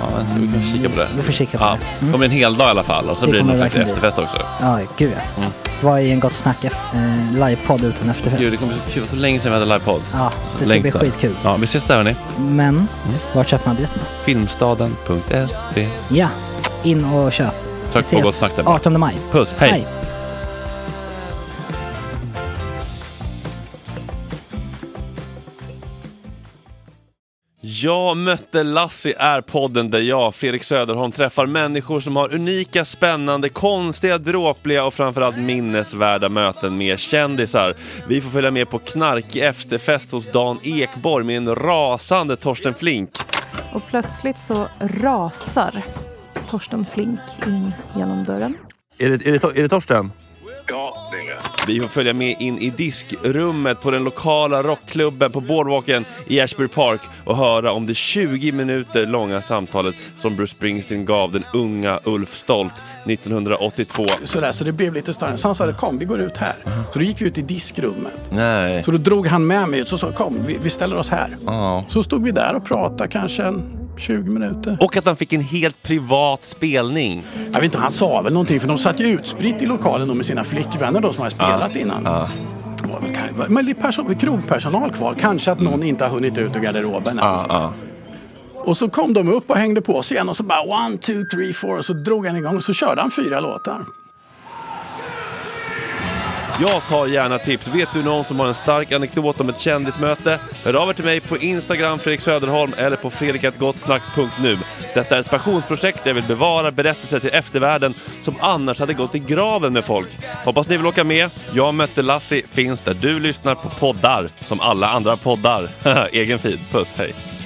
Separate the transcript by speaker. Speaker 1: Ja, vi kan kika på det.
Speaker 2: Mm. Vi får kika på
Speaker 1: Ja,
Speaker 2: det. Mm.
Speaker 1: det kommer bli en hel dag i alla fall och så
Speaker 2: Det
Speaker 1: blir det
Speaker 2: kommer
Speaker 1: någon slags
Speaker 2: verkligen bli.
Speaker 1: efterfest också.
Speaker 2: Ja, gud ja.
Speaker 1: Mm.
Speaker 2: Vad är en gott snack eh, livepodd utan efterfest?
Speaker 1: Gud, det kommer bli så kul. Det var så länge sedan vi hade livepodd.
Speaker 2: Ja, det ska
Speaker 1: Längtar. Mm.
Speaker 2: bli skitkul.
Speaker 1: Ja, vi ses där hörni.
Speaker 2: Men, vart köper man biljetterna?
Speaker 1: Filmstaden.se.
Speaker 2: Ja, in och köp. Vi
Speaker 1: Tack på gott snack där bara.
Speaker 2: 18 maj.
Speaker 1: Puss, hej!
Speaker 2: Hej.
Speaker 1: Jag mötte Lassie är podden där jag, Fredrik Söderholm, träffar människor som har unika, spännande, konstiga, dråpliga och framförallt minnesvärda möten med kändisar. Vi får följa med på knarkig efterfest hos Dan Ekborg med en rasande Torsten Flink.
Speaker 3: Och plötsligt så rasar Torsten Flink in genom dörren.
Speaker 4: Är det, är det, är det Torsten?
Speaker 5: Ja, det är det.
Speaker 1: Vi får följa med in i diskrummet på den lokala rockklubben på boardwalken i Ashbury Park och höra om det 20 minuter långa samtalet som Bruce Springsteen gav den unga Ulf Stolt 1982.
Speaker 5: Sådär, så det blev lite större. Så han sa kom vi går ut här. Så då gick vi ut i diskrummet.
Speaker 1: Nej.
Speaker 5: Så då drog han med mig ut och sa kom vi, vi ställer oss här. Så stod vi där och pratade kanske en 20 minuter.
Speaker 1: Och att han fick en helt privat spelning.
Speaker 5: Jag vet inte, han sa väl någonting för de satt ju utspritt i lokalen då med sina flickvänner då som hade spelat innan. Det var väl kanske- Men det är person, krogpersonal kvar. Kanske att någon inte har hunnit ut ur garderoben. än. Och så kom de upp och hängde på sig igen och så bara one, two, three, four. Och så drog han igång och så körde han fyra låtar.
Speaker 1: Jag tar gärna tips. Vet du någon som har en stark anekdot om ett kändismöte? Hör av er till mig på Instagram, Fredrik Söderholm, eller på fredrikatgottsnack.nu. Detta är ett passionsprojekt där jag vill bevara berättelser till eftervärlden som annars hade gått i graven med folk. Hoppas ni vill åka med. Jag mötte Lassie finns där du lyssnar på poddar, som alla andra poddar. Egen feed. Puss, hej.